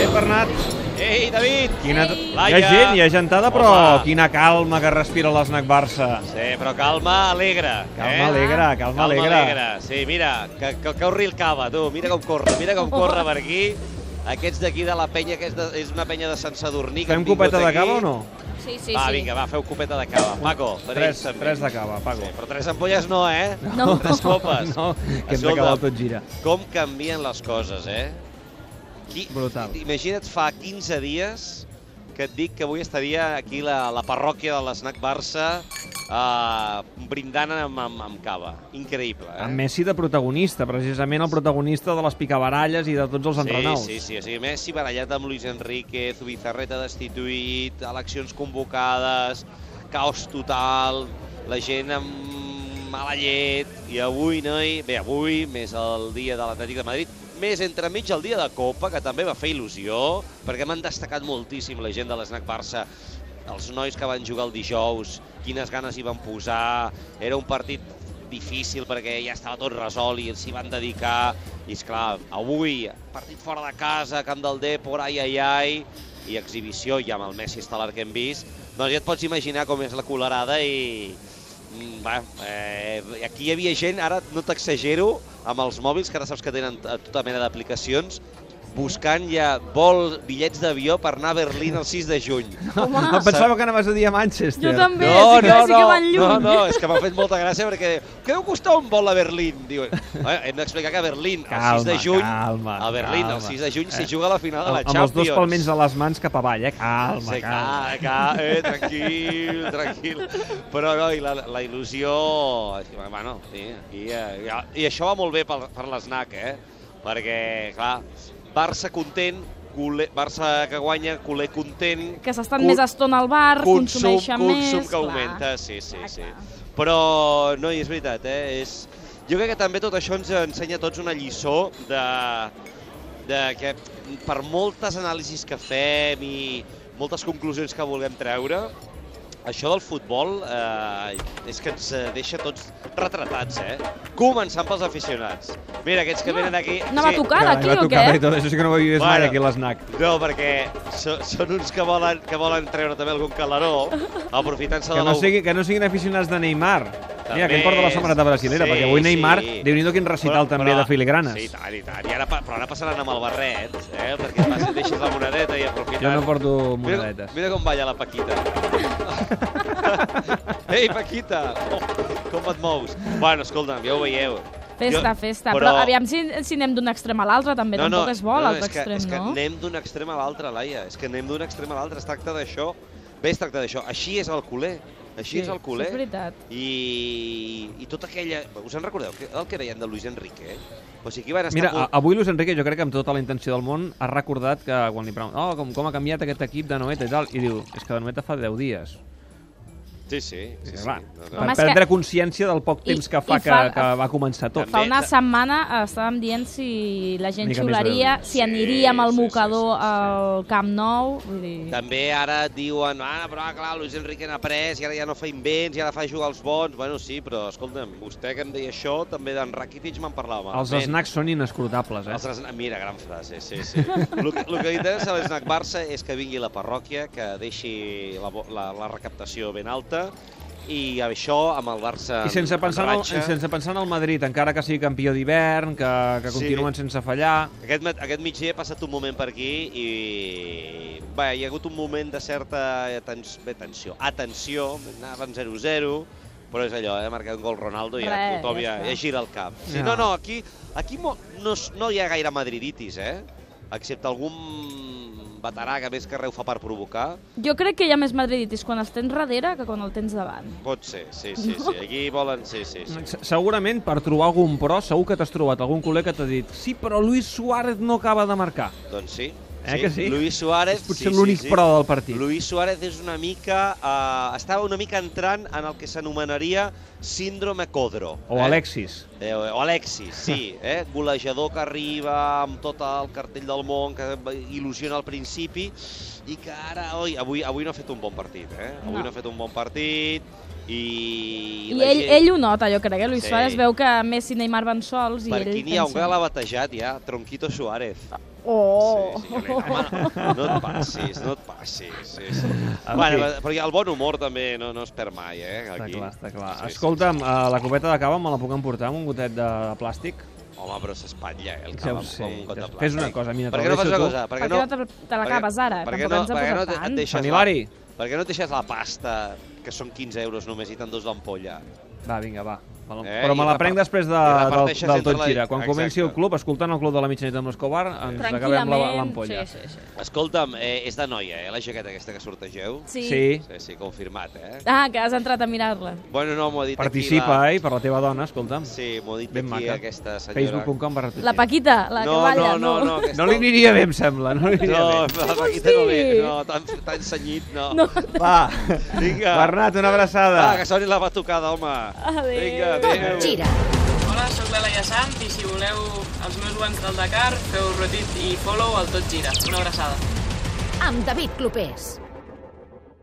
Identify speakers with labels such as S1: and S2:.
S1: Ep, Bernat.
S2: Ei, David!
S1: Quina... Hi ha
S2: Laia.
S1: gent, hi ha gentada, però
S2: Home.
S1: quina calma que respira l'Snac Barça.
S2: Sí, però calma, alegre.
S1: Calma
S2: eh?
S1: alegre, calma,
S2: Calma
S1: alegre.
S2: alegre. Sí, mira, que, que corri el cava, tu. Mira com corre, mira com corre per aquí. Aquests d'aquí de la penya, que és, de, és una penya de Sant Sadurní. que
S1: Fem
S2: han vingut
S1: copeta de
S2: aquí.
S1: cava o no?
S3: Sí, sí,
S2: Va,
S3: sí.
S2: vinga, va, feu copeta de cava. Paco, per
S1: Tres,
S2: ells també.
S1: tres de cava, Pago.
S2: Sí, però tres ampolles no, eh?
S3: No.
S2: Tres copes.
S1: No, que hem
S2: Escolta,
S1: d'acabar el tot gira.
S2: Com canvien les coses, eh? Qui...
S1: Brutal.
S2: Imagina't fa 15 dies que et dic que avui estaria aquí la, la parròquia de l'Snac Barça eh, brindant amb, amb, amb cava. Increïble, eh?
S1: Amb Messi de protagonista, precisament el protagonista de les picabaralles i de tots els enrenaus.
S2: Sí, sí, sí. O sigui, Messi barallat amb Luis Enrique, Zubizarreta destituït, eleccions convocades, caos total, la gent amb mala llet, i avui, noi, bé, avui, més el dia de l'Atlètic de Madrid, més entremig el dia de Copa, que també va fer il·lusió, perquè m'han destacat moltíssim la gent de l'Snac Barça els nois que van jugar el dijous, quines ganes hi van posar, era un partit difícil perquè ja estava tot resolt i s'hi van dedicar, i esclar, avui, partit fora de casa, camp del Depor, ai, ai, ai, i exhibició, i amb el Messi estel·lar que hem vist, doncs ja et pots imaginar com és la colerada i... mm, Va, eh, aquí hi havia gent, ara no t'exagero, amb els mòbils, que ara saps que tenen eh, tota mena d'aplicacions, buscant ja vol bitllets d'avió per anar a Berlín el 6 de juny.
S3: Home,
S1: Em pensava que anaves a dir a Manchester.
S3: jo també, no, sí, que, sí que van lluny.
S2: No, no, és que m'ha fet molta gràcia perquè què deu costar un vol a Berlín? Diuen, eh, hem d'explicar que a Berlín, el 6 de
S1: Calma,
S2: juny,
S1: calma,
S2: a Berlín,
S1: calma.
S2: el 6 de juny s'hi
S1: Eh,
S2: juga la final de la
S1: amb
S2: Champions.
S1: els dos palments de les mans cap avall, eh? Calma,
S2: Sí,
S1: calma.
S2: cal, cal, eh, tranquil, tranquil. Però no, i la, la il·lusió... així, Bueno, sí, i, eh, I això va molt bé per, per l'SNAC, eh? Perquè, clar, Barça content, culer, Barça que guanya, culer content...
S3: Que s'estan
S2: cul-
S3: més estona al bar,
S2: consum,
S3: consumeixen més...
S2: consum que
S3: clar.
S2: augmenta, sí, sí,
S3: Clar,
S2: sí.
S3: clar.
S2: Però, no, i és veritat, eh? És... Jo crec que també tot això ens ensenya a tots una lliçó de, de que per moltes anàlisis que fem i moltes conclusions que vulguem treure, això del futbol eh, és que ens eh, deixa tots retratats, eh? Començant pels aficionats. Mira, aquests que venen aquí...
S3: Anava a tocar
S1: Carai,
S3: d'aquí
S1: va
S3: o
S1: tocar bé
S3: què?
S1: tot, això sí que no ho havies mai
S2: Bueno.
S1: aquí a l'Snac.
S2: No, perquè so, són uns que volen, que volen treure també algun calaró, aprofitant-se
S1: Que
S2: de
S1: no,
S2: la
S1: sigui, que no siguin aficionats de Neymar. Mira,
S2: També
S1: que em porta la samarreta brasilera,
S2: sí,
S1: perquè avui Neymar,
S2: sí.
S1: déu-n'hi-do quin recital també de filigranes.
S2: Sí, i tant, i tant. I ara, pa- però ara passaran amb el barret, eh? perquè vas, deixes la monedeta i aprofitant.
S1: Jo no porto
S2: mira,
S1: monedetes.
S2: mira com balla la Paquita. Ei, Paquita! Oh, com et mous? Bueno, escolta'm, ja ho veieu.
S3: Festa,
S2: Jo-
S3: festa.
S2: però-
S3: Però, aviam si, si anem d'un extrem a l'altre, també. Tampoc es vol,
S2: és
S3: els
S2: que,
S3: extrems,
S2: és que
S3: no?
S2: anem d'un extrem a l'altre, Laia. És que anem d'un extrem a l'altre. Es tracta d'això. Bé, es tracta d'això. Així és el culer. Així és el culer.
S3: És veritat.
S2: I, i tota aquella... Us en recordeu que- el que deien de Luis Enrique? eh? O sigui, aquí van estar...
S1: Mira,
S2: molt-
S1: a- avui Luis Enrique, jo crec que amb tota la intenció del món, ha recordat que quan li pregunten oh, com, com ha canviat aquest equip de Noeta i tal, i diu, és que de Noeta fa 10 dies.
S2: Sí, sí. sí,
S1: Sí,
S2: sí.
S1: clar,
S2: No,
S1: per
S2: no.
S3: Home, és que-
S1: perdre consciència del poc
S3: I-
S1: temps que
S3: i
S1: fa, que,
S3: fa-
S1: que va començar tot.
S2: També.
S3: Fa una
S2: ta-
S3: setmana eh, estàvem dient si la gent
S1: Mica més
S3: xiularia,
S1: breu.
S3: si aniria amb el
S2: Sí, sí, sí,
S3: mocador
S2: sí, sí.
S3: al Camp Nou. Vull dir...
S2: També ara et diuen, ah, però ah, clar, Luis Enrique n'ha après, i ara ja no fa invents, i ara fa jugar els bons. Bueno, sí, però escolta'm, vostè que em deia això, també d'en Rakitic me'n parlava.
S1: Els
S2: malament.
S1: snacks són inescrutables, eh?
S2: Els esna- Mira, gran frase, sí, sí. El que, lo que li interessa a l'Snac Barça és que vingui la parròquia, que deixi la, bo- la, la recaptació ben alta, i això amb el Barça
S1: I sense pensar, en el, sense pensar en el Madrid, encara que sigui campió d'hivern, que, que
S2: Sí.
S1: continuen sense fallar...
S2: Aquest, mat- aquest migdia he passat un moment per aquí i bé, hi ha hagut un moment de certa tens, bé, tensió, atenció, anàvem 0-0, però és allò, eh? marcar un gol Ronaldo i ja
S3: Res,
S2: tothom ja,
S3: ja està.
S2: ja gira el cap. Sí,
S1: Ja.
S2: no, no, aquí, aquí mo, no, s- no hi ha gaire madriditis, eh? excepte algun veterà que més que reu fa per provocar.
S3: Jo crec que hi ha més madriditis quan els tens darrere que quan el tens davant.
S2: Pot ser, sí, sí, sí. Aquí volen... Sí, sí, sí.
S1: Se- Segurament, per trobar algun pro, segur que t'has trobat algun col·lega que t'ha dit sí, però Luis Suárez no acaba de marcar.
S2: Doncs sí.
S1: Eh que sí?
S2: Luis Suárez...
S1: És potser l'únic pro del partit.
S2: Luis Suárez és una mica... Eh, estava una mica entrant en el que s'anomenaria síndrome Codro.
S1: O
S2: eh?
S1: Alexis.
S2: Eh, o Alexis, sí, eh? golejador que arriba amb tot el cartell del món, que il·lusiona al principi, i que ara, oi, avui, avui no ha fet un bon partit, eh? Avui no,
S3: No.
S2: no ha fet un bon partit, I,
S3: I
S2: la
S3: ell,
S2: gent-
S3: ell ho nota, jo crec, eh? Luis
S2: Sí.
S3: sí. Suárez veu que Messi i Neymar van sols i
S2: Per
S3: ell
S2: aquí n'hi ha un que
S3: pensa...
S2: l'ha batejat ja, Tronquito Suárez.
S3: Oh!
S2: Sí, sí, jo li- Home, no et passis, no et passis. Sí, sí.
S1: En
S2: Bueno,
S1: fi.
S2: perquè el bon humor també no, no es perd mai, eh?
S1: Està
S2: Aquí.
S1: clar, està clar.
S2: Sí, sí,
S1: Escolta'm, eh, la copeta de cava me la puc emportar amb un gotet de plàstic?
S2: sí. Home, però s'espatlla, eh, el
S1: Ja ho
S2: cava
S1: sé,
S2: amb un got
S1: ja
S2: de
S1: ho sé.
S2: plàstic.
S1: Fes una cosa, mira,
S2: Per
S1: te'l
S2: què no fas
S1: deixo
S2: una
S1: tu?
S2: cosa? Per
S3: Per
S2: què
S3: què no te, te l'acabes ara?
S2: per què
S3: Tampoc
S2: no,
S3: ens ha
S2: per què no
S3: posat
S2: te- et
S3: tant.
S2: deixes
S1: Sant
S2: la-
S1: Hilari.
S2: Per què no et deixes la pasta, que són 15 euros només i te'n dos d'ampolla?
S1: Va, vinga, va. Me la-
S2: Eh,
S1: Però
S2: i
S1: me la
S2: repar-
S1: prenc després de,
S2: i
S1: del,
S2: reparteixes
S1: del
S2: entre
S1: tot
S2: la-
S1: gira. Quan comenci el
S2: Exacte.
S1: club, escoltant el club de la mitjanit amb l'Escobar, ens acabem la- l'ampolla.
S3: Sí, sí, sí.
S2: Escolta'm, eh, és de noia, eh, la jaqueta aquesta que sortegeu?
S3: sí.
S1: sí.
S2: Sí, sí, confirmat, eh?
S3: Ah, que has entrat a mirar-la.
S2: Bueno, no, m'ho ha dit aquí
S1: Participa,
S2: la...
S1: eh, per la teva dona, escolta'm.
S2: Sí, m'ho ha dit
S1: Ben
S2: aquí
S1: maca.
S2: aquesta senyora.
S1: Facebook.com barra
S3: La Paquita, la
S2: no,
S3: que balla.
S2: no, no, no, aquesta...
S1: No li aniria bé, em sembla. No li aniria
S2: No,
S1: bé.
S2: la Paquita no li...
S3: Sí.
S2: No, tan, tan senyit, no.
S3: No.
S1: Va,
S2: Vinga.
S1: Bernat, una abraçada.
S2: Ah, que soni la batucada, home.
S3: Adéu.
S2: Vinga, adéu.
S4: Gira.
S5: Hola, sóc l'Elaia Sant i si voleu els meus guants del Dakar, feu retit i follow al Tot Gira. Una abraçada.
S4: Amb David Clopés.